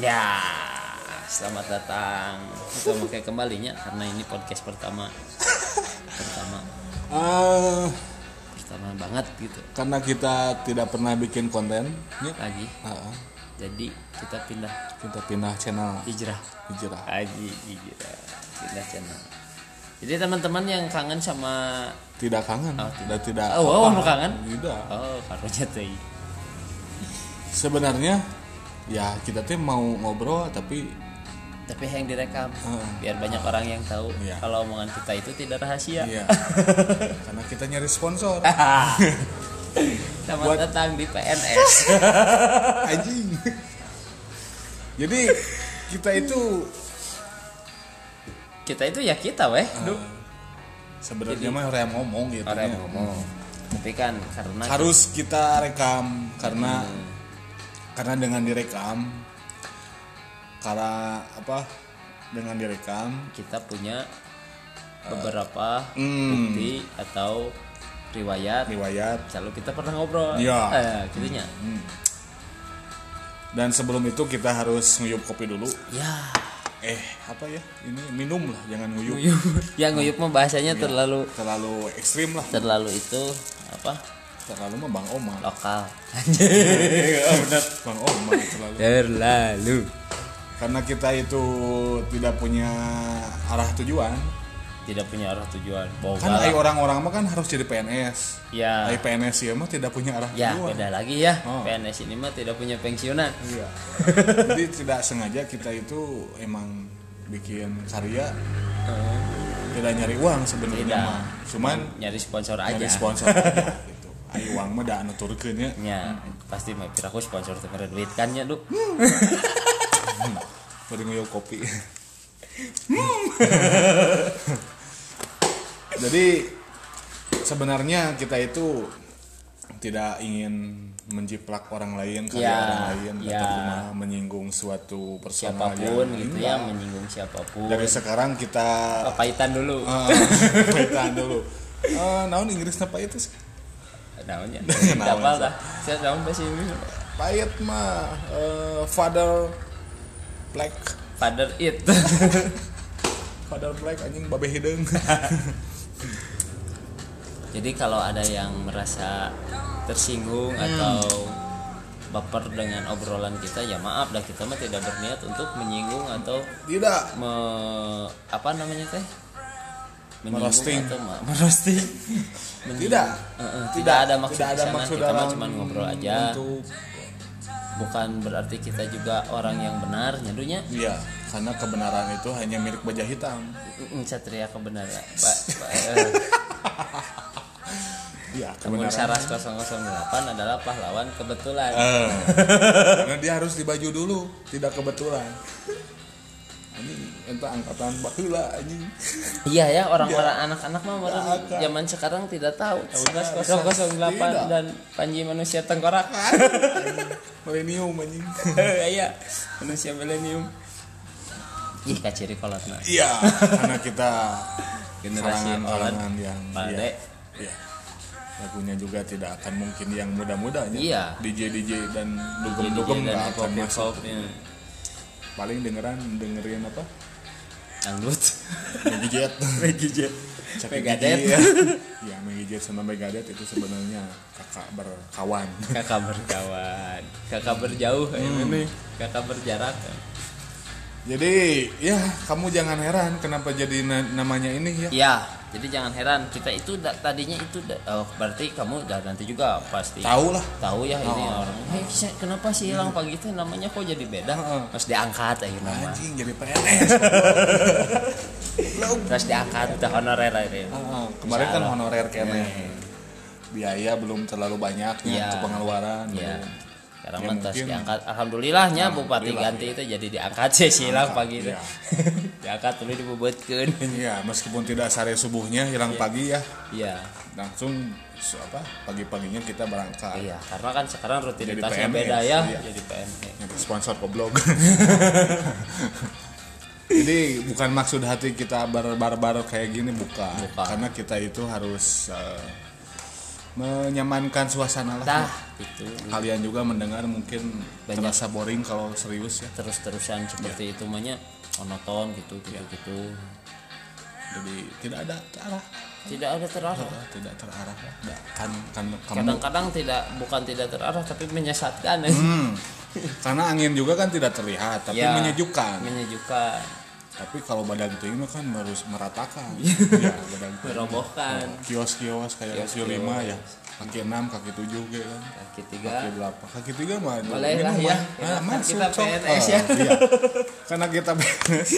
Ya, selamat datang. Kita pakai kembalinya karena ini podcast pertama. Pertama, Ah, pertama banget gitu. karena kita tidak pernah bikin konten, ya. Lagi. Ah, ah. Jadi kita pindah kita pindah channel hijrah. hijrah. Aji hijrah. Pindah channel. Jadi teman-teman yang kangen sama Tidak kangen, dan tidak. Oh, oh, apa. mau kangen? Tidak. oh karunya teh. Sebenarnya ya kita tuh mau ngobrol tapi Tapi yang direkam Heeh. biar banyak orang yang tahu Hmm. Iya. kalau omongan kita itu tidak rahasia. iya. karena kita nyari sponsor. Selamat Buat- datang di PNS. Anjing. Jadi kita itu kita itu ya kita weh. Duh. Ah, sebenarnya mah rem ngomong gitu. orang ya. ngomong tapi kan karena harus kita rekam karena Hmm. karena dengan direkam karena apa dengan direkam kita punya beberapa Eh, hmm, bukti atau riwayat riwayat selalu kita pernah ngobrol Iya. eh, gitunya dan sebelum itu kita harus nguyup kopi dulu ya eh apa ya ini minum lah jangan nguyup nguyup ya nguyup mah bahasanya Iya. terlalu terlalu ekstrim lah terlalu itu apa terlalu mah bang Oma lokal Iya, bang Oma terlalu terlalu karena kita itu tidak punya arah tujuan tidak punya arah tujuan kan boga ai orang-orang mah kan harus jadi PNS ya ai PNS ya mah tidak punya arah ya tujuan beda lagi ya Oh. PNS ini mah tidak punya pensiunan Iya. Jadi tidak sengaja kita itu emang bikin karya tidak nyari uang sebenarnya Tidak. mah. Cuman nyari sponsor nyari aja sponsor aja gitu. Ai uang mah da anu turkeun nya. ya pasti mah piraku sponsor teu mere duit kan nya lu Hmm. Bari nguyuh kopi. Hmm. Jadi sebenarnya kita itu tidak ingin menjiplak orang lain karya Ya, orang lain ya. atau cuma menyinggung suatu personal siapapun yang- gitu ya menyinggung siapapun Hmm. dari sekarang kita pahitan dulu Ah, Paitan dulu. Eh, naon Inggrisnya pahit itu sih? namanya Naon apa sih? lah saya tahu bahasa Inggris Pahit mah eh, father black, father it father black anjing babe hideung. jadi kalau ada yang merasa tersinggung Hmm. atau baper dengan obrolan kita ya maaf lah kita mah tidak berniat untuk menyinggung atau Tidak. me, apa namanya teh Menyinggung Merosting. atau ma- merosting Menyinggung. Tidak. Eh, eh, tidak, Tidak ada maksud tidak ada di sana, maksud kita mah dalam cuma ngobrol aja Untuk bukan berarti kita juga orang yang benar nyadunya iya, karena kebenaran itu hanya milik baja hitam. Mm, satria kebenaran pak Pak, eh, Iya, namun kebenaran. saras 008 adalah pahlawan kebetulan Eh, karena dia harus dibaju dulu, tidak kebetulan. Ini entah angkatan baheula anjing. iya ya orang-orang anak-anak mah orang Tidak. zaman sekarang tidak tahu Tidak. saras 008 Tidak. dan panji manusia tengkorak Milenium anjing. iya manusia milenium ih kaciri kolotna Iya, karena kita Generasi kalangan-kalangan yang Bade. Iya. Iya. Lagunya juga tidak akan mungkin yang muda-mudanya. Iya. DJ DJ dan dugem-dugem Jadi, nggak Iya, dan akan masuk. hip-hopnya. Paling dengeran dengerin apa? dangdut Maggie Jet. Reggae Jet Cakep Megadeth. Gigi, Iya, Maggie Jet sama Megadeth itu sebenarnya kakak berkawan. kakak berkawan kakak berjauh ya, ini kakak berjarak Jadi, ya kamu jangan heran kenapa jadi na- namanya ini ya. ya jadi jangan heran kita itu da- tadinya itu da- oh, berarti kamu udah nanti juga pasti Tahu lah. tahu ya ini Oh. orang "Hei, Syek, kenapa sih hilang pagi itu namanya kok jadi beda Hmm. Heeh. terus diangkat aja nama Anjing jadi PNS. terus diangkat udah honorer aja Ah, kemarin Insya kan Allah. honorer kene biaya belum terlalu banyak Iya. ya. ke pengeluaran ya belum. sekarang Ya, mah terus mungkin. diangkat alhamdulillahnya bupati Alhamdulillah, iya. ganti itu jadi diangkat sih si hilang Diangkat, pagi itu iya. diangkat dulu dibobotkeun Iya, meskipun tidak sare subuhnya hilang pagi ya iya langsung su- apa pagi-paginya kita berangkat iya karena kan sekarang rutinitasnya PNS, beda ya iya. jadi PNS Nyampe sponsor goblok jadi bukan maksud hati kita barbar kayak gini bukan. Bukan. karena kita itu harus eh, menyamankan suasana lah Tah, itu kalian juga mendengar mungkin Banyak. terasa boring kalau serius ya terus-terusan seperti itu mahnya monoton gitu Iya. gitu gitu. jadi tidak ada terarah Tidak ada terarah. tidak terarah Nggak, kan kan kamu Kadang-kadang tidak bukan tidak terarah tapi menyesatkan. Hmm. karena angin juga kan tidak terlihat tapi Ya, menyejukkan Menyejukkan, tapi kalau badan ting mah kan harus meratakan ya badan teuing. Iya. merobohkan. kios-kios kayak Kios-kios. kaki lima ya kaki enam kaki tujuh gitu kan Kaki kaki tiga. berapa kaki tiga mah Boleh minum, lah mah. ya. nah, Kan masuk kita cok. PNS Ah, ya. iya. karena kita PNS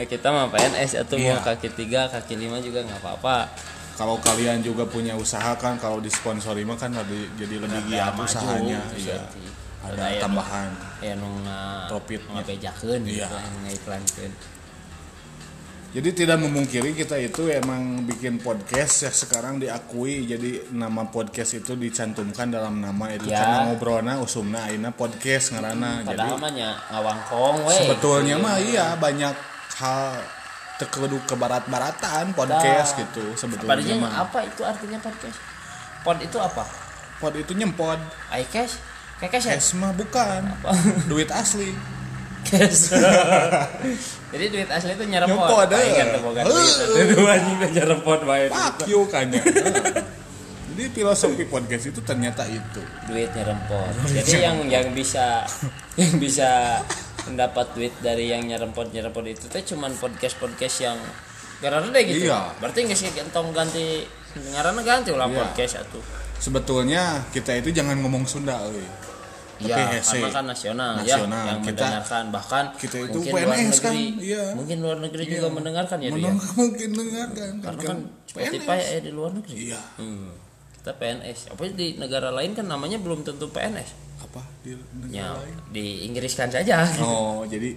Nah, kita mah PNS atau Iya. mau kaki tiga, kaki lima juga nggak apa-apa. kalau kalian juga punya usaha kan kalau disponsori mah kan lebih- jadi lebih giat maju, usahanya terus iya jadi. ada Ada ya. tambahan Ya nu nga Profitnya. ngabejakeun gitu, Iya. nu ngaiklankeun. jadi tidak memungkiri kita itu emang bikin podcast yang sekarang diakui jadi nama podcast itu dicantumkan dalam nama itu Ya. Hmm, karena ngobrolna usumna ayeuna podcast ngarana jadi Padahal mah eh. nya ngawangkong we. sebetulnya mah iya banyak hal terkedu ke barat-baratan podcast Dah. gitu Padahal sebetulnya yang mah apa itu artinya podcast? Pod itu apa? pod itu nyempod iCash? Kekes ya? Oh, cash mah bukan duit asli Cash. Jadi duit asli itu nyerempot. Nyerempot, eh. Aing kan boga duit. Heuh. Aduh anjing teh nyerempot bae. fuck you kanya jadi filosofi podcast itu ternyata itu Duit nyerempot. Jadi yang yang bisa yang bisa mendapat duit dari yang nyerempot nyerempot itu teh cuman podcast podcast yang gara-gara deh gitu. Iya. Berarti nggak sih gentong ganti ngarana ganti ulah Iya. podcast ya atuh. sebetulnya kita itu jangan ngomong Sunda euy. tapi Iya, hese karena kan nasional, Nasional. ya, yang Kita- mendengarkan bahkan kita itu mungkin luar PNS kan, negeri, iya. mungkin luar negeri juga mendengarkan ya, Dwi, ya? Menang- mungkin dengarkan karena kan Spotify eh, di luar negeri. iya Hmm, kita PNS, apa di negara lain kan namanya belum tentu PNS. apa di Ya, negara lain? di Inggriskan saja. oh jadi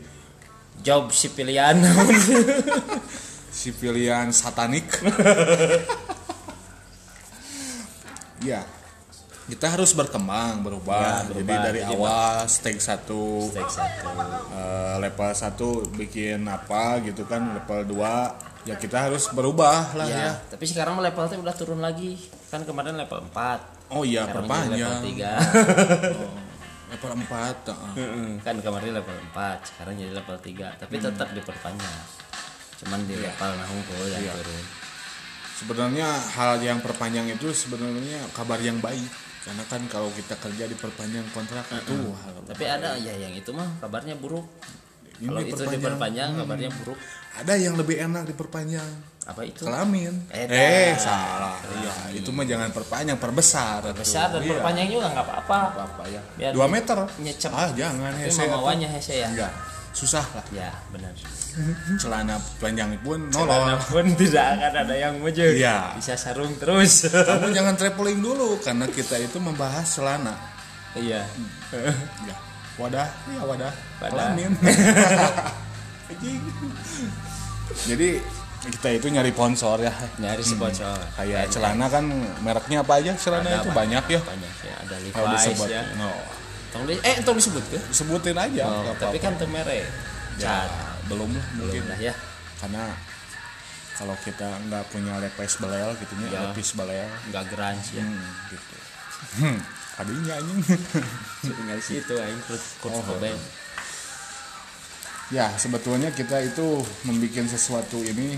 Job si pilihan. si pilihan satanik ya kita harus berkembang berubah, Ya, berubah. jadi dari Jadi awal stage satu Tag satu. eh, level 1 bikin apa gitu kan level 2 ya kita harus berubah lah ya, Ya, tapi sekarang levelnya udah turun lagi. Kan kemarin level 4. oh iya Sekarang jadi level perpanjang 3. level 4 kan kemarin level 4, sekarang jadi level 3, tapi tetap diperpanjang. Cuman Iya. di level nahungkul yang turun. sebenarnya hal yang perpanjang itu sebenarnya kabar yang baik karena kan kalau kita kerja diperpanjang kontrak itu hal Tapi ada ya yang itu mah kabarnya buruk. Ini Hmm. Kalau itu perpanjang. diperpanjang kabarnya buruk. ada yang lebih enak diperpanjang Apa itu? kelamin Eh, dah. eh salah Iya, itu mah jangan perpanjang perbesar atuh. Besar dan Iya. perpanjang juga nggak apa-apa. apa ya Biar dua meter nyecep. ah jangan Tapi hese mau atuh. mawanya hese ya. enggak susah lah Ya, benar. Hmm. celana panjang pun Karena nolol pun tidak akan ada yang mujur. Oh, Iya. Bisa sarung terus. kamu jangan traveling dulu karena kita itu membahas celana iya. ya wadah ya wadah Wadah. kelamin Anjing. jadi kita itu nyari sponsor ya Nyari si bocor. kayak celana kan mereknya apa aja celana Ada itu banyak. banyak ya Banyak ya, ada kalau Levi's disebut ya. no. Tong di- eh tong disebut ke? sebutin aja nggak tapi apa-apa. kan temere. Ya, Cat. belum lah mungkin Belum lah ya. karena kalau kita nggak punya lepes belel gitu ya, Ya. lepis belel Enggak grunge ya. hmm, gitu hmm, adinya anjing Tinggal situ aing terus kurs Oh, kobel. Ya, sebetulnya kita itu membuat sesuatu ini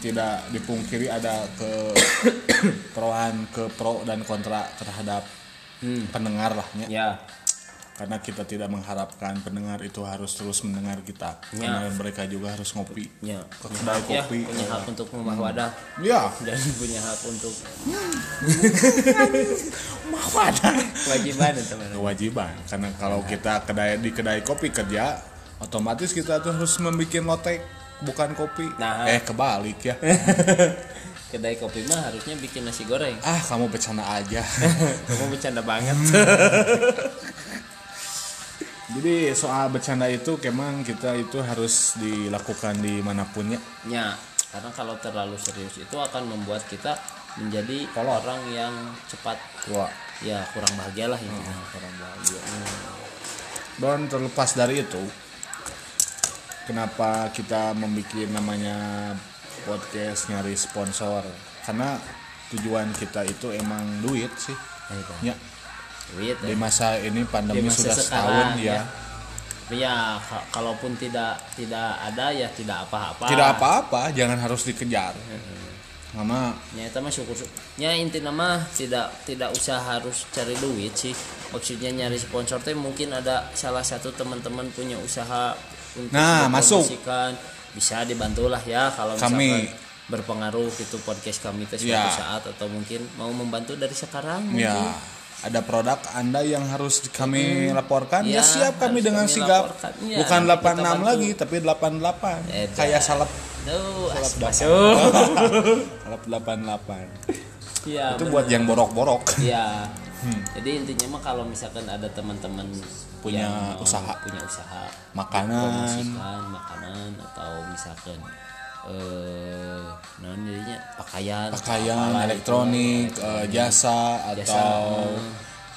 tidak dipungkiri ada ke proan ke pro dan kontra terhadap pendengar lahnya. Hmm. Ya. Karena kita tidak mengharapkan pendengar itu harus terus mendengar kita. Ya. Karena mereka juga harus ngopi. Ya, Ke punya kedai hak ya, kopi. punya hak untuk rumah wadah Ya, dan punya hak untuk mau ada kewajiban ya, teman-teman. kewajiban. Karena kalau Ya. kita kedai di kedai kopi kerja, otomatis kita tuh harus membuat lotek bukan kopi. Nah. Eh kebalik ya. Kedai kopi mah harusnya bikin nasi goreng. ah, kamu bercanda aja. Kamu bercanda banget. Jadi soal bercanda itu memang kita itu harus dilakukan dimanapun ya. ya, karena kalau terlalu serius itu akan membuat kita menjadi orang yang cepat Wah, ya kurang bahagia lah intinya. Nah, orang bahagia. Dan terlepas dari itu, kenapa kita membuat namanya podcast nyari sponsor? Karena tujuan kita itu emang duit sih Eta. ya duit ya. di masa ini Di pandemi masa sudah sekarang, setahun ya. ya. Tapi ya ka- kalaupun tidak tidak ada ya tidak apa-apa tidak apa-apa jangan harus dikejar Hmm. karena nyata Ya, mah syukur nya intinya mah tidak tidak usah harus cari duit sih maksudnya nyari sponsor teh mungkin ada salah satu teman-teman punya usaha untuk Nah, masuk. mempromosikan. bisa dibantulah ya kalau Kami. misalkan berpengaruh gitu podcast kami teh suatu Ya. saat atau mungkin mau membantu dari sekarang mungkin. ya ada produk anda yang harus kami laporkan Ya, ya, siap kami harus dengan kami sigap laporkan. Ya, bukan kita 86 bantu. lagi tapi 88 Edan. kayak salep Duh, as- masuk salep 88 ya, itu bener. buat yang borok-borok ya Hmm. jadi intinya mah kalau misalkan ada teman-teman Punya yang mau usaha. punya usaha makanan promosikan makanan atau misalkan eh non jadinya pakaian gitu. pakaian apalah elektronik eh, jasa Jasa, mm. atau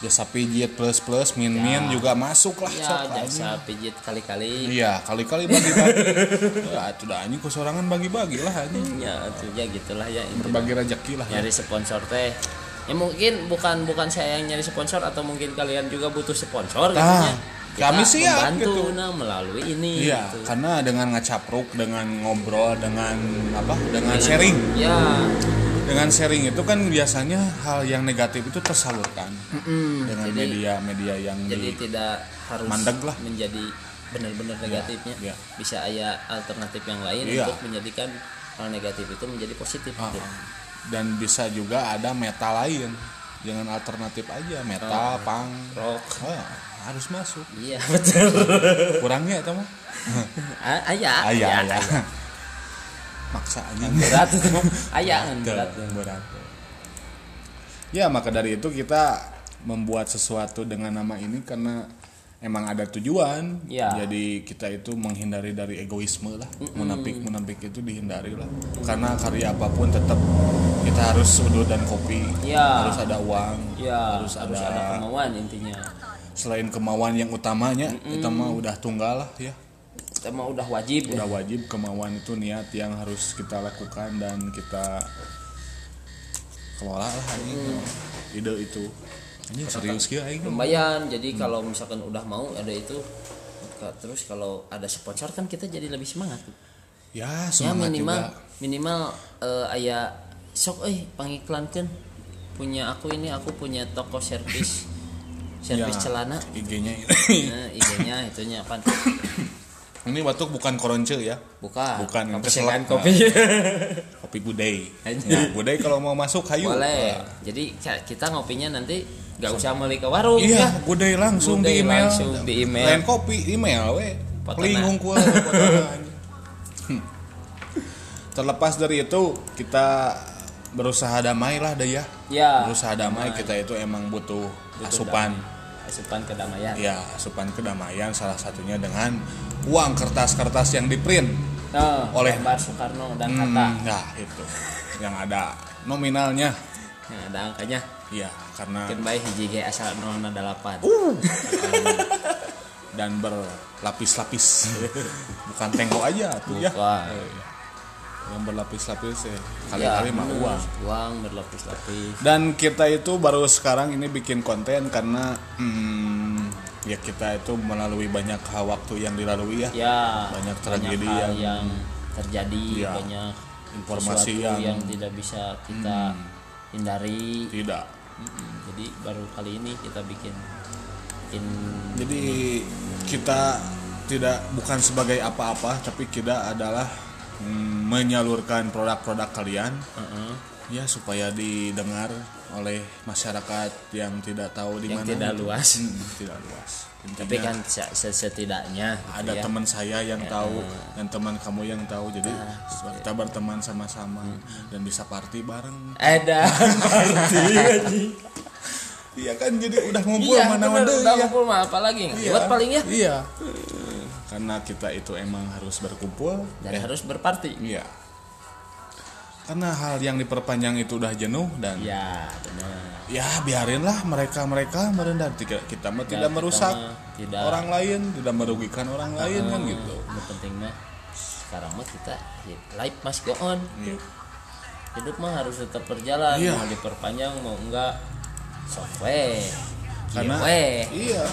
jasa pijit plus plus min min juga masuk lah itu. sok ya lah. jasa pijit kali-kali Iya, kali-kali bagi-bagi. Ya, itu dah anjing kusorangan bagi-bagi lah anjing. ya itu ya gitulah ya intinya. Berbagi rezeki lah ya. nyari sponsor teh ya mungkin bukan bukan saya yang nyari sponsor atau mungkin kalian juga butuh sponsor gitu Ah, ya. kami siap, membantu gitu. nah, melalui ini Iya, gitu. karena dengan ngecapruk, dengan ngobrol, dengan apa? Dengan sharing. ya Dengan sharing itu kan biasanya hal yang negatif itu tersalurkan dengan Jadi- media-media yang jadi di tidak harus Mandeg Hmm. lah. menjadi benar-benar negatifnya ya. bisa ada alternatif yang lain Iya. untuk menjadikan hal negatif itu menjadi positif Ah, gitu. dan bisa juga ada meta lain. Jangan alternatif aja, meta, pang, rock Ah, harus masuk. iya betul Kurangnya itu mah. Ah, iya, A- aya Ayah, ayah. Maksa anjing. Iya, berat aya kan, Betul, berat berat. Ya maka dari itu kita membuat sesuatu dengan nama ini karena emang ada tujuan. Ya. Jadi kita itu menghindari dari egoisme lah, menampik menampik itu dihindari lah. Karena karya apapun tetap kita harus sudut dan kopi, Ya. harus ada uang, ya harus, harus ada, ada kemauan intinya selain kemauan yang utamanya, kita mah udah tunggal lah ya kita mah udah wajib ya. udah wajib kemauan itu niat yang harus kita lakukan dan kita kelola lah anjing ide itu ini Hmm. serius kia aing lumayan Hmm. jadi kalau misalkan udah mau ada itu ka- terus kalau ada sponsor kan kita jadi lebih semangat ya ya semangat minimal juga minimal eh aya sok eh pangiklankeun punya aku ini aku punya toko servis servis Ya. celana IG-nya ya. nah, ig-nya itunya apa ini batuk bukan koronce ya buka Bukan, kopi segan keselak. kopi kopi gudai Anjing. ya gudai kalau mau masuk hayu Ah. boleh Iya. jadi ka- kita ngopinya nanti nggak usah beli ke warung iya ya gudai langsung Gudai di email langsung di email. lain kopi email we Potona. lingung ku we, potona, anjing. Hmm. terlepas dari itu kita berusaha damai lah deh ya ya berusaha damai kita itu emang butuh, asupan asupan kedamaian ya asupan kedamaian salah satunya dengan uang kertas-kertas yang di print Nah, Oleh- gambar Soekarno dan Hmm, Hatta nah itu yang ada nominalnya Nah, ada angkanya ya karena mungkin baik hiji ge asal 008 Uh, dan berlapis-lapis bukan tengok aja tuh ya Bukan. yang berlapis-lapis ya kali-kali mah bener. uang Iya. uang berlapis-lapis dan kita itu baru sekarang ini bikin konten karena hmm, ya kita itu melalui banyak hal waktu yang dilalui ya ya Banyak tragedi hal yang- terjadi Ya, banyak informasi sesuatu yang- Hmm. tidak bisa kita hindari tidak Mm-mm. jadi baru kali ini kita bikin bikin Jadi kita tidak bukan sebagai apa-apa, tapi kita adalah mm, menyalurkan produk-produk kalian uh-uh, ya supaya didengar oleh masyarakat yang tidak tahu di yang mana. tidak luas Hmm, tidak luas. Intinya tapi kan se- se- setidaknya gitu ada ya. Ah, iya. teman saya yang tahu dan teman kamu yang tahu. Jadi kita berteman sama-sama Mm, dan bisa party bareng. ada Iya kan jadi udah ngumpul iya mana bener, mana udah ngumpul mah apalagi buat paling ya Iya. Karena kita itu emang harus berkumpul Eh, dan harus berparti Iya. Karena hal yang diperpanjang itu udah jenuh dan ya benar ya biarinlah mereka-mereka merendah Tiga- kita mah kita tidak merusak mah tidak. Ah. orang lain, tidak merugikan orang lain kan gitu. ya, yang penting mah sekarang mah kita live must go on Iya. hidup mah harus tetap berjalan Iya. mau diperpanjang mau enggak software karena iya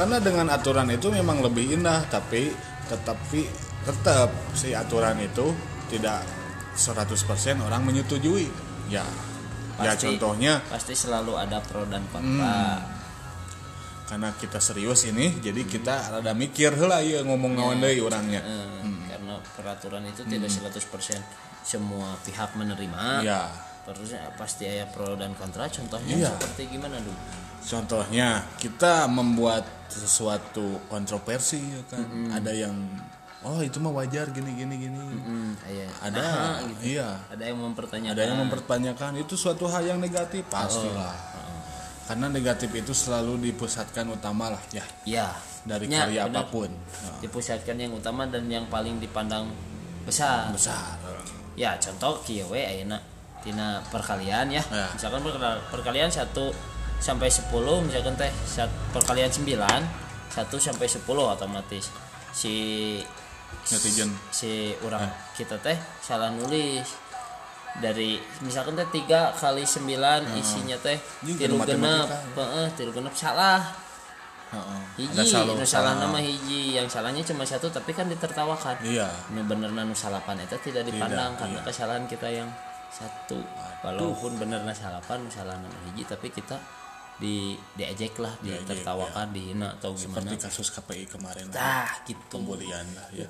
karena dengan aturan itu memang lebih indah tapi tetapi tetap si aturan itu tidak 100% orang menyetujui ya ya Pasti. contohnya pasti selalu ada pro dan kontra Hmm. karena kita serius ini jadi kita rada mikir heula ieu ngomong naon deui urangnya Eh, karena peraturan itu tidak Hmm. 100% semua pihak menerima ya terus ya, pasti ada pro dan kontra contohnya Iya. seperti gimana dulu contohnya kita membuat sesuatu kontroversi ya kan ada yang oh itu mah wajar gini gini gini Hmm. ada iya gitu. ada yang mempertanyakan ada yang mempertanyakan itu suatu hal yang negatif pastilah Oh, karena negatif itu selalu dipusatkan utama lah ya ya dari Ya, karya benar. apapun Nah, dipusatkan yang utama dan yang paling dipandang besar besar ya contoh kieu we ayeuna tina perkalian ya Ya. misalkan perkala- perkalian 1 sampai 10 misalkan teh sat- perkalian 9 1 sampai 10 otomatis si Netizen. si orang Ya. kita teh salah nulis dari misalkan teh 3 kali 9 isinya teh Hmm. Ini tilu bukan genep matematika, heeh tilu genep salah Heeh. hiji nu salah nama hiji yang salahnya cuma satu tapi kan ditertawakan iya nu benerna nu salapan itu tidak dipandang Tidak, karena iya. kesalahan kita yang satu walaupun benerna salapan nu salahan anu hiji tapi kita di diejek lah Diejek, iya. ditertawakan dihina atau gimana seperti kasus KPI kemarin dah gitu pembulian lah ya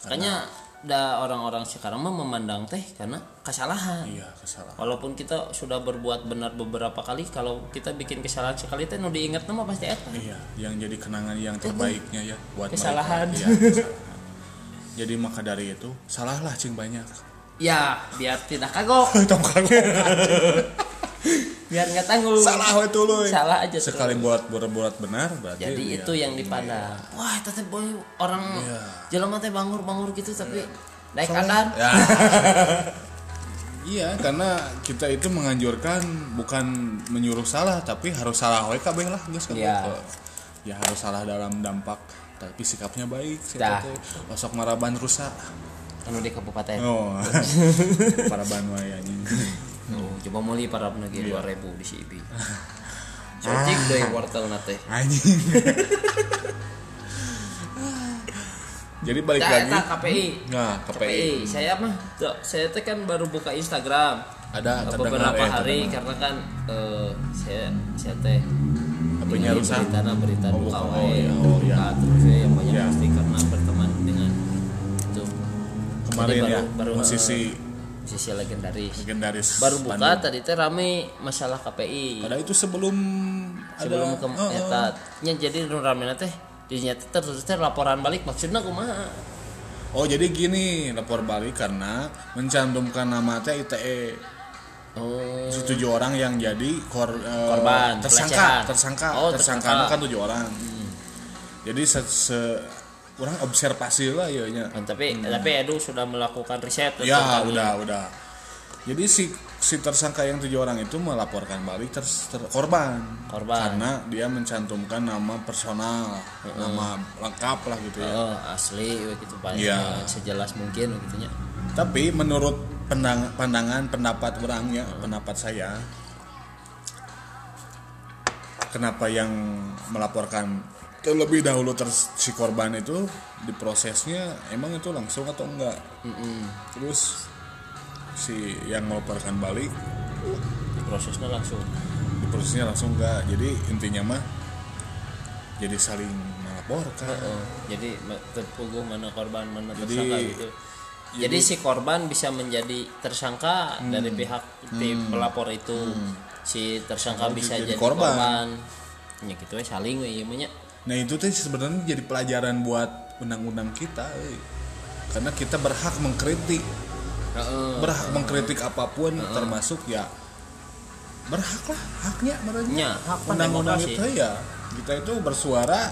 makanya da orang-orang sekarang mah memandang teh karena kesalahan iya kesalahan walaupun kita sudah berbuat benar beberapa kali kalau kita bikin kesalahan sekali teh nu diingat mah pasti eta iya yang jadi kenangan yang terbaiknya ya buat mereka. Kesalahan. Iya, kesalahan. jadi maka dari itu salahlah cing banyak ya biar tidak kagok Tong kagok. biar nggak tanggung salah we tuluy Salah aja tuh. sekali buat buat benar berarti iya. jadi dia- itu ya. yang dipandang wah itu teh boy orang Iya. jelema teh bangur bangur gitu tapi naik adan Ya. iya, karena kita itu menganjurkan bukan menyuruh salah, tapi harus salah we kabeh lah, geus kabeh. Iya. Ya harus salah dalam dampak, tapi sikapnya baik. si Dah. Tete. Osok maraban rusak. anu di kabupaten Oh. maraban wae anjing. oh, coba muli para penagi dua Iya. ribu di CIB cocik deh Ah. wortel nate Anjing. Jadi balik lagi. tak KPI Nah, KPI KPI saya mah tuh, saya teh kan baru buka Instagram ada terdengar beberapa ya, hari terdengar. karena kan eh, saya saya teh ini Apanya rusak? berita nah, berita Oh, buka buka, wae oh, iya, oh, iya. buka terus ya yang banyak Iya. pasti karena berteman dengan itu Kemarin Jadi ya, baru- baru, musisi sisi legendaris legendaris baru buka Bandung. tadi teh rame masalah KPI Padahal itu sebelum sebelum ada oh, ke Heeh. eta nya jadi nu rame na teh dinya teh terus teh laporan balik maksudna kumaha Oh jadi gini lapor balik karena mencantumkan nama teh ITE oh tujuh orang yang jadi kor- eh, Korban, pelecehan. tersangka tersangka Oh, tersangka tersangka. kan tujuh orang jadi se, se- orang observasi lah ya nya. tapi tapi Edu sudah melakukan riset ya tentang ini. udah udah jadi si si tersangka yang tujuh orang itu melaporkan balik ters- ter, korban Korban. karena dia mencantumkan nama personal nama lengkap lah gitu ya Oh, asli we gitu pak Iya. sejelas mungkin we gitu nya Tapi menurut pandang- pandangan pendapat orangnya, pendapat saya, kenapa yang melaporkan terlebih dahulu ter si korban itu diprosesnya emang itu langsung atau enggak? Terus si yang melaporkan balik prosesnya langsung diprosesnya langsung enggak? Jadi intinya mah jadi saling melaporkan. Oh, jadi me- terpuguh mana korban mana Jadi- tersangka gitu jadi, si korban bisa menjadi tersangka Hmm. dari pihak tim pelapor itu si tersangka bisa jadi jadi, korban. korban, ya gitu ya saling we ieu mah nya. Nah itu tuh sebenarnya jadi pelajaran buat undang-undang kita, euy. karena kita berhak mengkritik, Heeh. berhak mengkritik apapun, termasuk ya berhak lah haknya Nya, merenya. Iya, hak undang-undang demokrasi. kita ya kita itu bersuara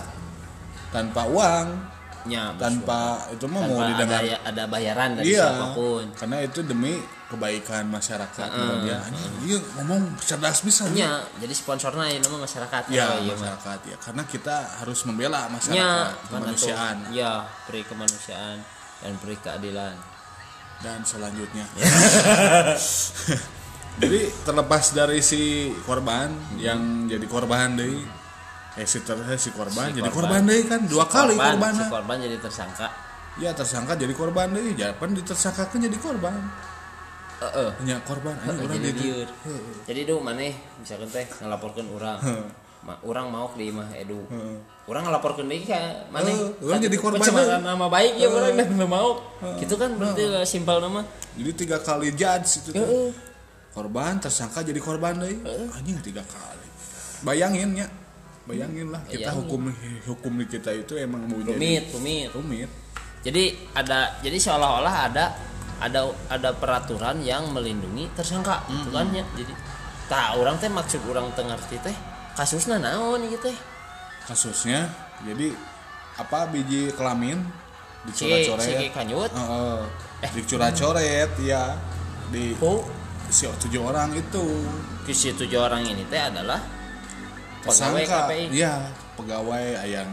tanpa uang, Nya, tanpa itu mah tanpa mau didengar. ada, ada bayaran dari Iya, siapapun karena itu demi kebaikan masyarakat. ya. Anjing, Iya ngomong cerdas bisa. nya jadi sponsornya ya nama masyarakat Ya, Iya. Oh, iya mah. masyarakat ya. Karena kita harus membela masyarakat, nya mana tuh? kemanusiaan. ya peri kemanusiaan dan peri keadilan dan selanjutnya. jadi terlepas dari si korban yang jadi korban deh eh si, ter- eh, si korban Si jadi korban. korban, deh kan dua kali korban, korban, kan. si korban jadi tersangka ya tersangka jadi korban deh japan ditersangkakan jadi korban Heeh. hanya korban aja Heeh, orang jadi itu liur. jadi duh maneh misalkan teh ngelaporkan orang Ma, orang mau di imah edu orang ngelaporkan deui ka maneh Heeh, urang jadi korban pencemaran deui. nama baik ya orang dan neu mau gitu kan berarti lah simpel nama jadi tiga kali judge itu tuh. Heeh. korban tersangka jadi korban deh anjing tiga kali bayangin ya bayangin lah kita Bayangin. hukum hukum di kita itu emang mau jadi rumit rumit rumit jadi ada jadi seolah-olah ada ada ada peraturan yang melindungi tersangka gitu kan ya jadi tak orang teh maksud orang teh ngerti teh kasusnya naon gitu teh kasusnya jadi apa biji kelamin si si dicoret-coret kanyut Eh. Heeh. dicoret-coret ya di oh si tujuh orang itu di situ tujuh orang ini teh adalah pegawai tersangka KPI ya pegawai yang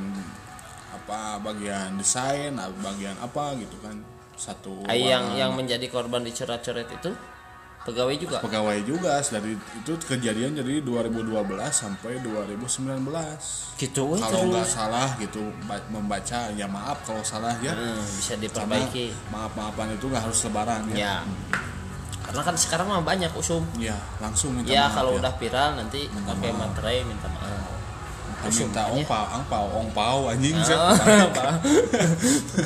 apa bagian desain apa bagian apa gitu kan satu Ay, Ah, yang orang. yang menjadi korban dicoret-coret itu pegawai juga pegawai juga dari itu kejadian dari 2012 sampai 2019 gitu weh kalau nggak terus salah gitu ba- membaca ya maaf kalau salah ya Hmm, bisa karena diperbaiki maaf maafan itu nggak harus lebaran ya ya karena kan sekarang mah banyak usum Iya, langsung minta ya maaf kalau udah viral nanti Minta pakai maaf. materai minta maaf Kan minta ongpau ongpau ongpau anjing set. Oh,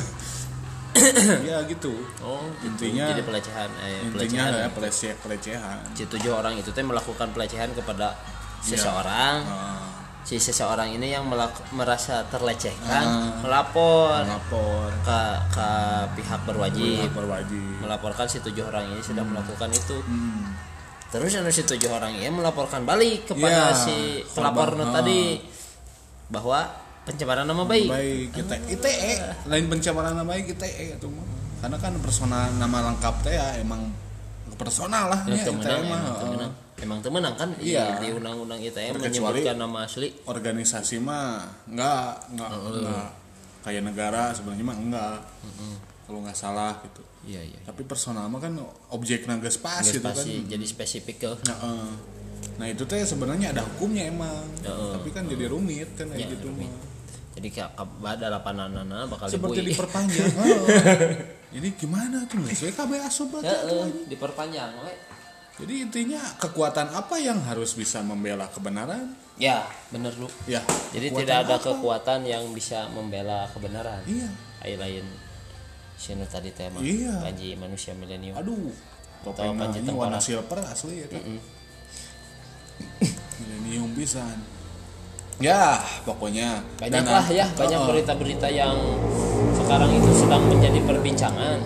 ya gitu oh gitu. Intinya- jadi pelecehan eh, intinya pelecehan ya pelecehan pelecehan si tujuh orang itu teh melakukan pelecehan kepada Iya. seseorang Eh, si seseorang ini yang melak- merasa terlecehkan Ah. melapor melapor ke ke pihak berwajib melapor wajib melaporkan si tujuh orang ini sudah melakukan itu Hmm, terus anu si tujuh orang ini melaporkan balik kepada Ya, si korban. pelapor nu Ah. tadi bahwa pencemaran nama baik baik kita ITE lain pencemaran nama baik ITE itu mah karena kan personal nama lengkap teh ya emang personal lah Ya, ya, ITE temenang, mah emang temenang. Emang temenang kan di- Iya. di undang-undang ITE Terkecuali- menyebutkan nama asli. Eh, organisasi mah enggak enggak Oh, iya. enggak kayak negara sebenarnya mah enggak kalau nggak salah gitu Iya iya. tapi personal mah kan objek naga pas gitu kan Spasi, jadi spesifik ke. Nah, eh. nah itu teh sebenarnya ada hukumnya emang, Heeh. Ya, tapi kan jadi rumit kan kayak gitu mah. Jadi kayak kabada lapananana bakal Seperti dibui. diperpanjang. Heeh. Jadi gimana tuh guys? WKB asup berarti Heeh, atuh. diperpanjang we. Jadi intinya kekuatan apa yang harus bisa membela kebenaran? Ya, bener lu. Ya. Jadi kekuatan tidak ada apa? kekuatan yang bisa membela kebenaran. Iya. Ai lain sinu tadi tema Iya. panji manusia milenium. Aduh. Tahu Topeng panci ini tengkorak. warna silver asli ya. teh. Millennium pisan. Ya, pokoknya Banyaklah Dan- ya, banyak Heeh. berita-berita yang sekarang itu sedang menjadi perbincangan.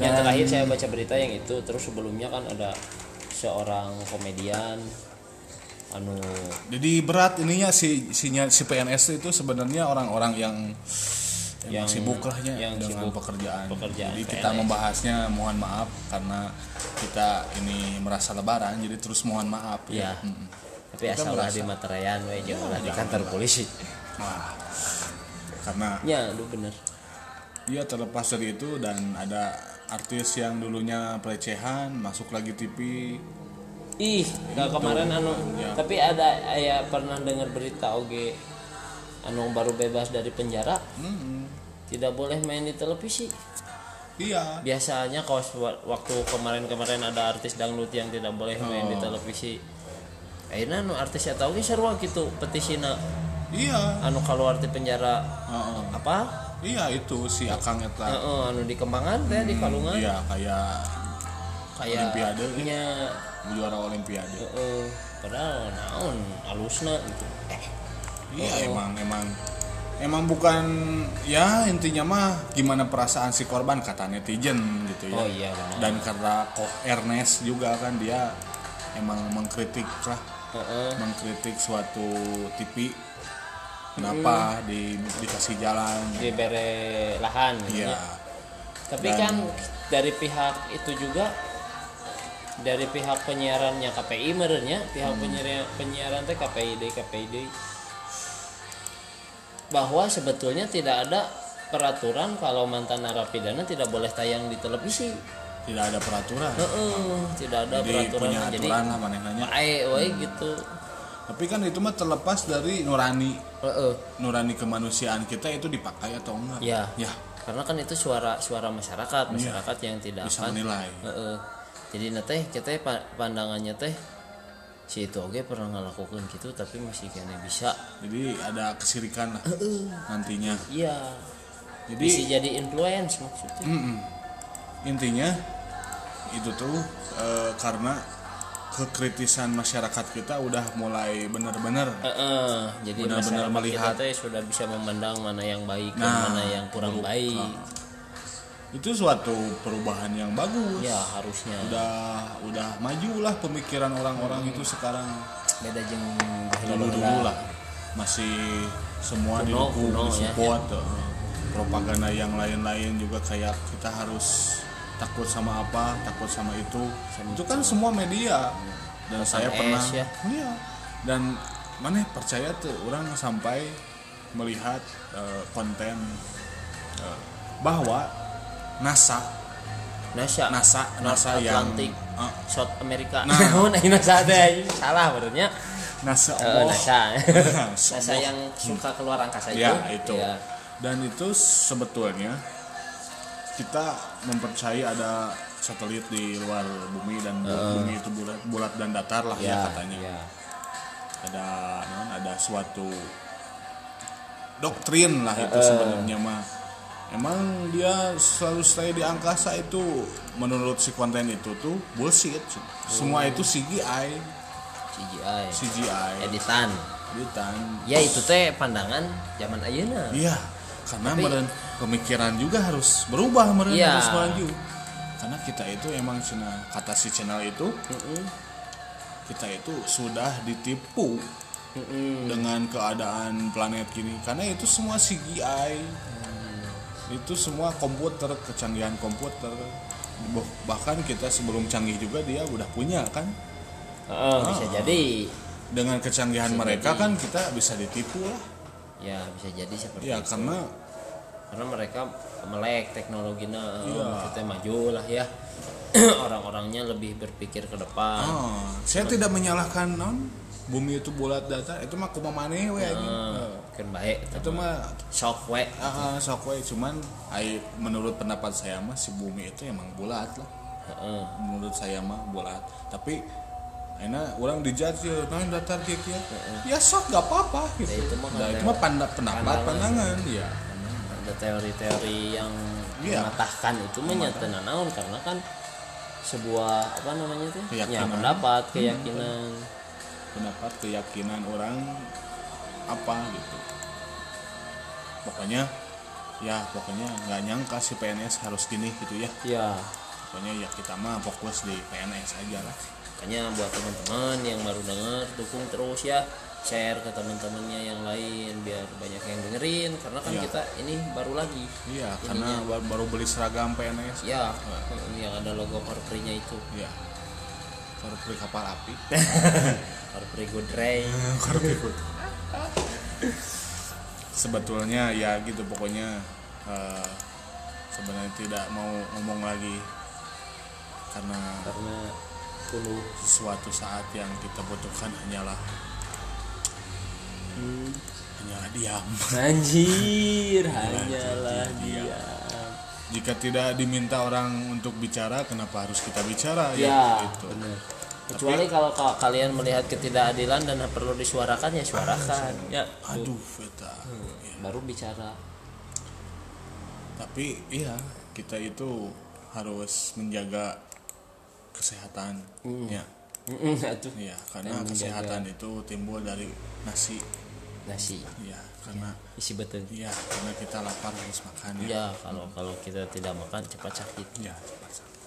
Yang Dan- terakhir saya baca berita yang itu, terus sebelumnya kan ada seorang komedian anu Jadi berat ininya si si, si PNS itu sebenarnya orang-orang yang yang, Yang- sibuk lahnya yang dengan sibuk pekerjaan. pekerjaan Jadi kita PNS. membahasnya mohon maaf karena kita ini merasa lebaran jadi terus mohon maaf ya. Mm-mm. Tapi Hmm. Kita asal ulah merasa. di materean we jeung ulah di jangan kantor polisi. Wah. Karena Ya, lu bener. dia Iya, terlepas dari itu dan ada artis yang dulunya pelecehan masuk lagi TV Ih, gak kemarin anu, tapi ada aya pernah dengar berita oge anu baru bebas dari penjara Mm-mm. tidak boleh main di televisi. Iya. biasanya kalau sewa- waktu kemarin-kemarin ada artis dangdut yang tidak boleh main Oh. di televisi akhirnya nu artis ya tahu seru gitu petisina Iya. anu keluar di penjara Heeh. apa Iya itu si Akang eta. Heeh, anu di Kembangan teh di Kalungan Iya kayak kayak Olimpiade, ya. nya juara olimpiade. heeh, padahal naon alusna gitu Iya emang emang emang bukan ya intinya mah gimana perasaan si korban kata netizen gitu ya. Oh, iya, benar. Dan karena kok Ernest juga kan dia emang mengkritik lah Heeh. mengkritik suatu TV kenapa Iya. di dikasih jalan Iya, dibere lahan gitu ya nya. tapi Dan- kan dari pihak itu juga dari pihak penyiarannya KPI merenya Hmm. pihak penyiaran penyiaran teh KPI deui, KPI deui. bahwa sebetulnya tidak ada peraturan kalau mantan narapidana tidak boleh tayang di televisi. tidak ada peraturan Heeh, tidak ada Hmm. jadi peraturan. punya Jadi aturan lah manehannya ae we gitu. tapi kan itu mah terlepas dari nurani Heeh. nurani kemanusiaan kita itu dipakai atau enggak Ya. ya Karena kan itu suara suara masyarakat, masyarakat yang tidak bisa akan menilai Heeh. Jadi na teh kita pa- pandangannya teh si itu oge pernah ngelakukan gitu tapi masih kayaknya bisa. jadi ada kesirikan lah nantinya Iya. jadi Bisa jadi influence maksudnya. Mm-mm. intinya itu tuh eh, karena kekritisan masyarakat kita udah mulai bener-bener Eh. Heeh, jadi Benar-benar masyarakat melihat. kita teh sudah bisa memandang mana yang baik dan Nah, mana yang kurang baik. itu suatu perubahan yang bagus Ya harusnya udah udah majulah pemikiran orang-orang itu sekarang beda jeung dulu dulu lah masih semua Kuno, didukung kuno, disupport eh. propaganda yang lain-lain juga kayak kita harus takut sama apa takut sama itu itu kan semua media dan es, saya pernah ya. iya. dan mana percaya tuh orang sampai melihat eh, konten eh, bahwa NASA NASA, NASA North NASA yang Atlantic, eh, South America. Nah. Nah, NASA teh anjing. salah benernya. NASA Eh, Allah NASA. NASA Allah. yang suka keluar angkasa itu. Ya itu. Ya. Dan itu sebetulnya kita mempercayai ada satelit di luar bumi dan bu- bumi itu bulat, bulat dan datar lah Ya, ya, katanya. ya. Ada non, ada suatu doktrin lah itu sebenarnya mah. Emang dia selalu stay di angkasa itu menurut si konten itu tuh bullshit. Oh. Semua itu CGI, CGI. CGI, Editan. editan. Ya itu teh pandangan zaman ayeuna. Iya, karena Nah, Tapi- meren pemikiran juga harus berubah meren Iya. harus maju. Karena kita itu emang cina kata si channel itu Heeh. kita itu sudah ditipu dengan keadaan planet gini karena itu semua CGI Mm. itu semua komputer kecanggihan komputer Bah- bahkan kita sebelum canggih juga dia udah punya kan Heeh, bisa jadi. dengan kecanggihan Bisa mereka jadi. kan kita bisa ditipu lah Ya, bisa jadi seperti ya itu. karena karena mereka melek teknologinya Iya. kita maju lah ya orang-orangnya lebih berpikir ke depan Oh, saya tidak menyalahkan non bumi itu bulat datar itu mah kumaha maneh we anjing. Heeh, kan baik itu mah shock we ah, ah, sok we cuman ai- menurut pendapat saya mah si bumi itu emang bulat lah Heeh. menurut saya mah bulat tapi enak orang dijudge ya non datar kieu kieu ya sok gak apa-apa gitu Ya, itu mah Nah, itu pandangan. mah panda- pendapat Pandangan. pandangan ya ada teori-teori yang Iya. mematahkan itu menyatakan naon karena kan sebuah apa namanya tuh Keyakinan. Hmm. ya pendapat keyakinan pendapat keyakinan orang apa gitu pokoknya ya pokoknya nggak nyangka si PNS harus gini gitu ya ya pokoknya ya kita mah fokus di PNS aja lah makanya buat teman-teman yang baru denger dukung terus ya share ke teman-temannya yang lain biar banyak yang dengerin karena kan Iya. kita ini baru lagi iya Ininya. karena ba- baru beli seragam PNS Ya, yang ada logo Korprinya itu. ya baru beli kapal api Korpri Good Ray. sebetulnya ya gitu pokoknya eh, sebenarnya tidak mau ngomong lagi karena Karena dulu sesuatu saat yang kita butuhkan hanyalah hanyalah diam anjir hanyalah dia. dia. jika tidak diminta orang untuk bicara kenapa harus kita bicara Ya, gitu. benar. Kecuali kalau ka- kalian melihat ketidakadilan dan perlu disuarakan ya suarakan. Iya, Ya, aduh Veta Ya, baru bicara. tapi iya kita itu harus menjaga kesehatan ya Mm-mm, Atuh. Iya, karena Dan Hmm. menjaga- kesehatan itu timbul dari nasi Nasi ya karena Nah, isi betul. iya karena kita lapar harus makan ya Ya, kalau kalau kita tidak makan cepat sakit. ya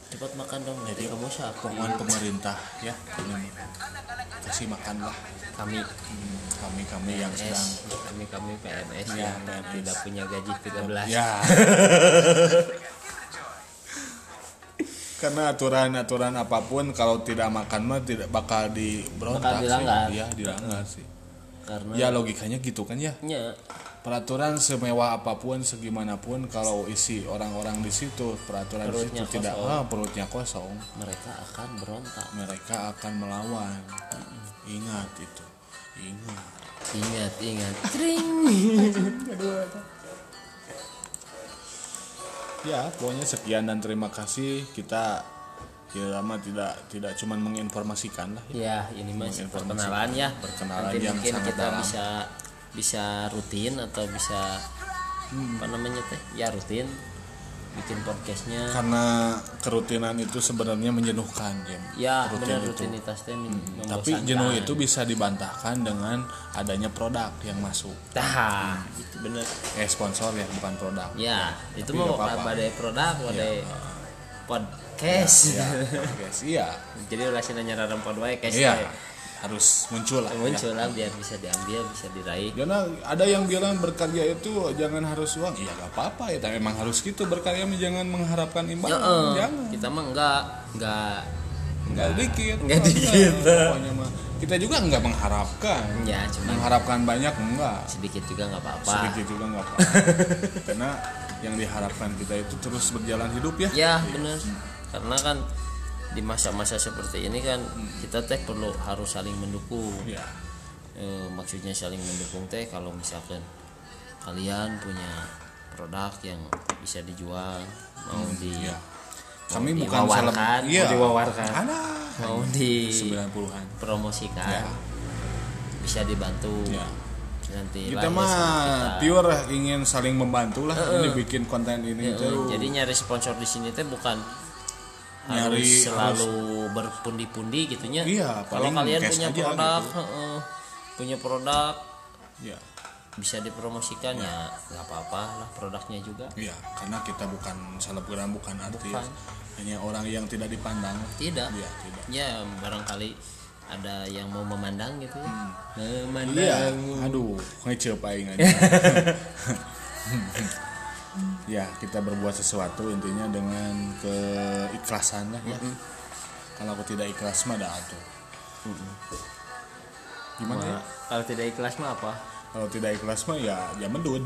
Cepat makan dong nanti kamu sakit. pokoknya pemerintah ya ini kasih makan lah Kami kami kami yang sedang PNS, kami kami PNS Ya, yang PNS. tidak punya gaji 13 ya karena aturan-aturan apapun kalau tidak makan mah tidak bakal diberontak Iya, Bakal dilanggar. sih. ya dilanggar sih karena ya logikanya gitu kan ya nya, peraturan semewah apapun segimanapun kalau isi orang-orang di situ peraturan di Perutnya situ tidak kosong. ah, perutnya kosong mereka akan berontak mereka akan melawan ingat itu ingat ingat ingat tring ya pokoknya sekian dan terima kasih kita ya lama tidak tidak cuman menginformasikan lah ya. ya ini mah Informasi. perkenalan ya Perkenalan nanti yang mungkin sangat kita dalam. bisa bisa rutin atau bisa Hmm. apa namanya teh ya rutin bikin podcastnya karena kerutinan itu sebenarnya menjenuhkan Jim. ya benar Rutin itu. Hmm. rutinitas teh men- tapi membosankan. jenuh itu bisa dibantahkan dengan adanya produk yang masuk tah itu bener eh sponsor Nah, ya bukan produk ya itu Tapi mau nggak apa-apa. pada produk pada podcast ya guys iya jadi ulah sih nanya rarang pod wae guys iya harus muncul lah ya. muncul lah biar bisa diambil bisa diraih Karena ada yang bilang berkarya itu jangan harus uang. Iya gak apa-apa ya, tapi memang harus gitu berkarya mah jangan mengharapkan Ya, imbalan. eh, Jangan. kita mah enggak enggak Enggak dikit. Nggak dikit. Pokoknya mah. Kita juga nggak mengharapkan. ya cuman Mengharapkan banyak enggak. sedikit juga nggak apa-apa Sedikit juga nggak apa-apa. Karena yang diharapkan kita itu terus berjalan hidup ya. ya bener karena kan di masa-masa seperti ini kan kita teh perlu harus saling mendukung Iya. Eh, maksudnya saling mendukung teh kalau misalkan kalian punya produk yang bisa dijual mau di Iya. Kami Mau bukan diwawarkan, seleb- mau Iya. diwawarkan. Iya. Ada. mau Iya. di 90-an. promosikan Ya. bisa dibantu Ya. nanti Kita lahir mah sama kita. pure ingin saling membantu lah ini bikin konten ini terus. Iya. jadi nyari sponsor di sini teh bukan Nyari, harus selalu berpundi-pundi gitunya Iya, kalau paling kalian cash punya aja produk gitu. heeh, punya produk Ya. bisa dipromosikan ya nggak apa-apa lah produknya juga Iya, karena kita bukan selebgram, bukan artis, Bukan. hanya orang yang tidak dipandang. tidak Iya, tidak. ya barangkali ada yang mau memandang gitu ya Iya, memandang aduh, ngecep aing aja. ya, kita berbuat sesuatu intinya dengan keikhlasan lah ya. Kalau aku tidak ikhlas mah dah atuh. Gimana ya? Nah, kalau tidak ikhlas mah apa Kalau tidak ikhlas mah ya jamedud.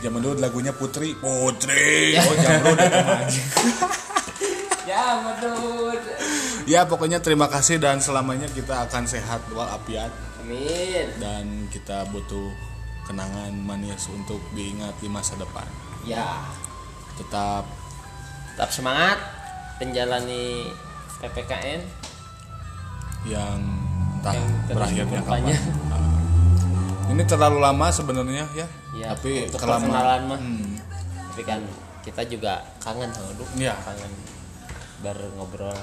jamedud lagunya Putri. Putri. Oh, jamrud itu mah. ya menurut Ya pokoknya terima kasih dan selamanya kita akan sehat walafiat amin dan kita butuh kenangan manis untuk diingat di masa depan. ya Tetap tetap semangat menjalani ppkm yang entah Yang terus berakhirnya kapan. berkampanye. Nah, Ini terlalu lama sebenarnya ya. Ya, Tapi untuk kelama- perkenalan mah. Hmm, tapi kan kita juga kangen sama Duk. Iya. kangen baru ngobrol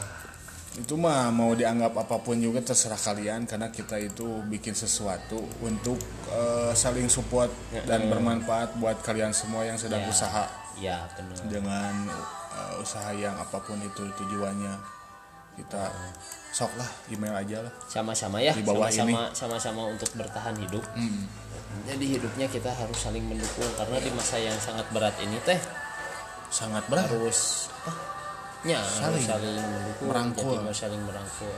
itu mah mau dianggap apapun juga terserah kalian karena kita itu bikin sesuatu untuk eh, saling support dan bermanfaat buat kalian semua yang sedang Ya. usaha. ya benar dengan uh, usaha yang apapun itu tujuannya kita sok lah email aja lah sama-sama ya Di bawah Hmm. sama-sama sama-sama untuk bertahan hidup jadi hidupnya kita harus saling mendukung karena di masa yang sangat berat ini teh sangat berat harus apa ya harus Saling saling mendukung merangkul. jadi harus saling merangkul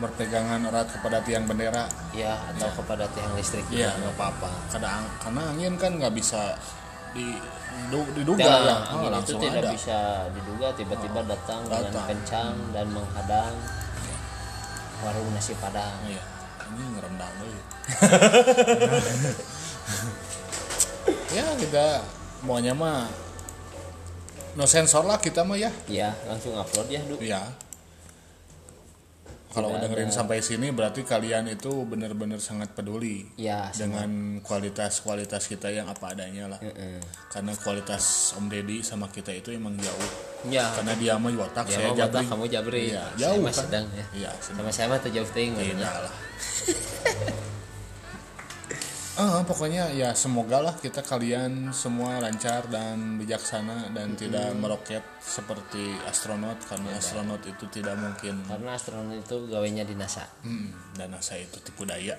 berpegangan erat kepada tiang bendera ya atau kepada tiang listrik iya juga. nggak apa-apa kadang karena angin kan nggak bisa di, du- diduga Tidak, ya Oh, angin itu langsung tidak ada Oh, bisa diduga tiba-tiba datang, dengan datang. Hmm. kencang dan menghadang warung nasi padang. Iya, ini ngerendang dulu ya kita maunya mah no sensor lah kita mah ya Ya, langsung upload ya, Duk. Iya. Kalau Tidak dengerin sampai sini berarti kalian itu benar-benar sangat peduli Ya, dengan kualitas-kualitas kita yang apa adanya lah. Heeh. Karena kualitas Om Deddy sama kita itu emang jauh. Ya. Karena dia mah watak, Dia Iya. saya mau botak, jabri. kamu jabri. Iya, Saya jauh mah kan? sedang ya. Iya, sedang. Sama-sama tuh jauh ting Tidak namanya. lah. Ah, pokoknya ya semoga lah kita kalian semua lancar dan bijaksana dan tidak meroket seperti astronot karena astronot itu tidak mungkin Karena astronot itu gawainya di NASA. Hmm, dan saya itu tipu daya.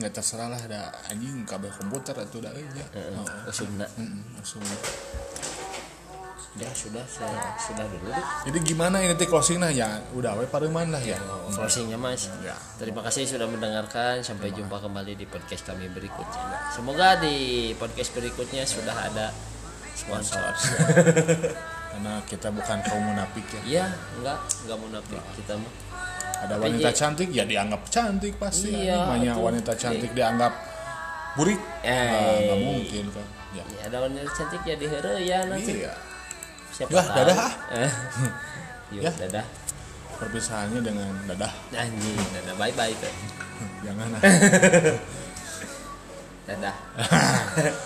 Nggak terserah lah ada anjing Oh. kabel komputer atau udah aja. Usumna. Langsung. ya sudah sudah sudah dulu deh. Jadi gimana ini teh closing nah ya udah we pareman lah ya. closingnya mas Ya. terima kasih sudah mendengarkan sampai jumpa kembali di podcast kami berikutnya semoga di podcast berikutnya sudah ada sponsor Karena kita bukan kaum munafik ya. iya enggak enggak munafik kita mah Ada wanita Jadi- cantik ya dianggap cantik pasti. Iya, Namanya atuh. wanita cantik dianggap burik. Eh. Nah, nggak mungkin kan. Ya. ya, ada wanita cantik ya diheureuh ya nanti Iya. siapa Yah, tahu dadah, ah. Eh, yuk Yah. dadah Perpisahannya dengan dadah. anjing dadah bye bye Jangan ah. dadah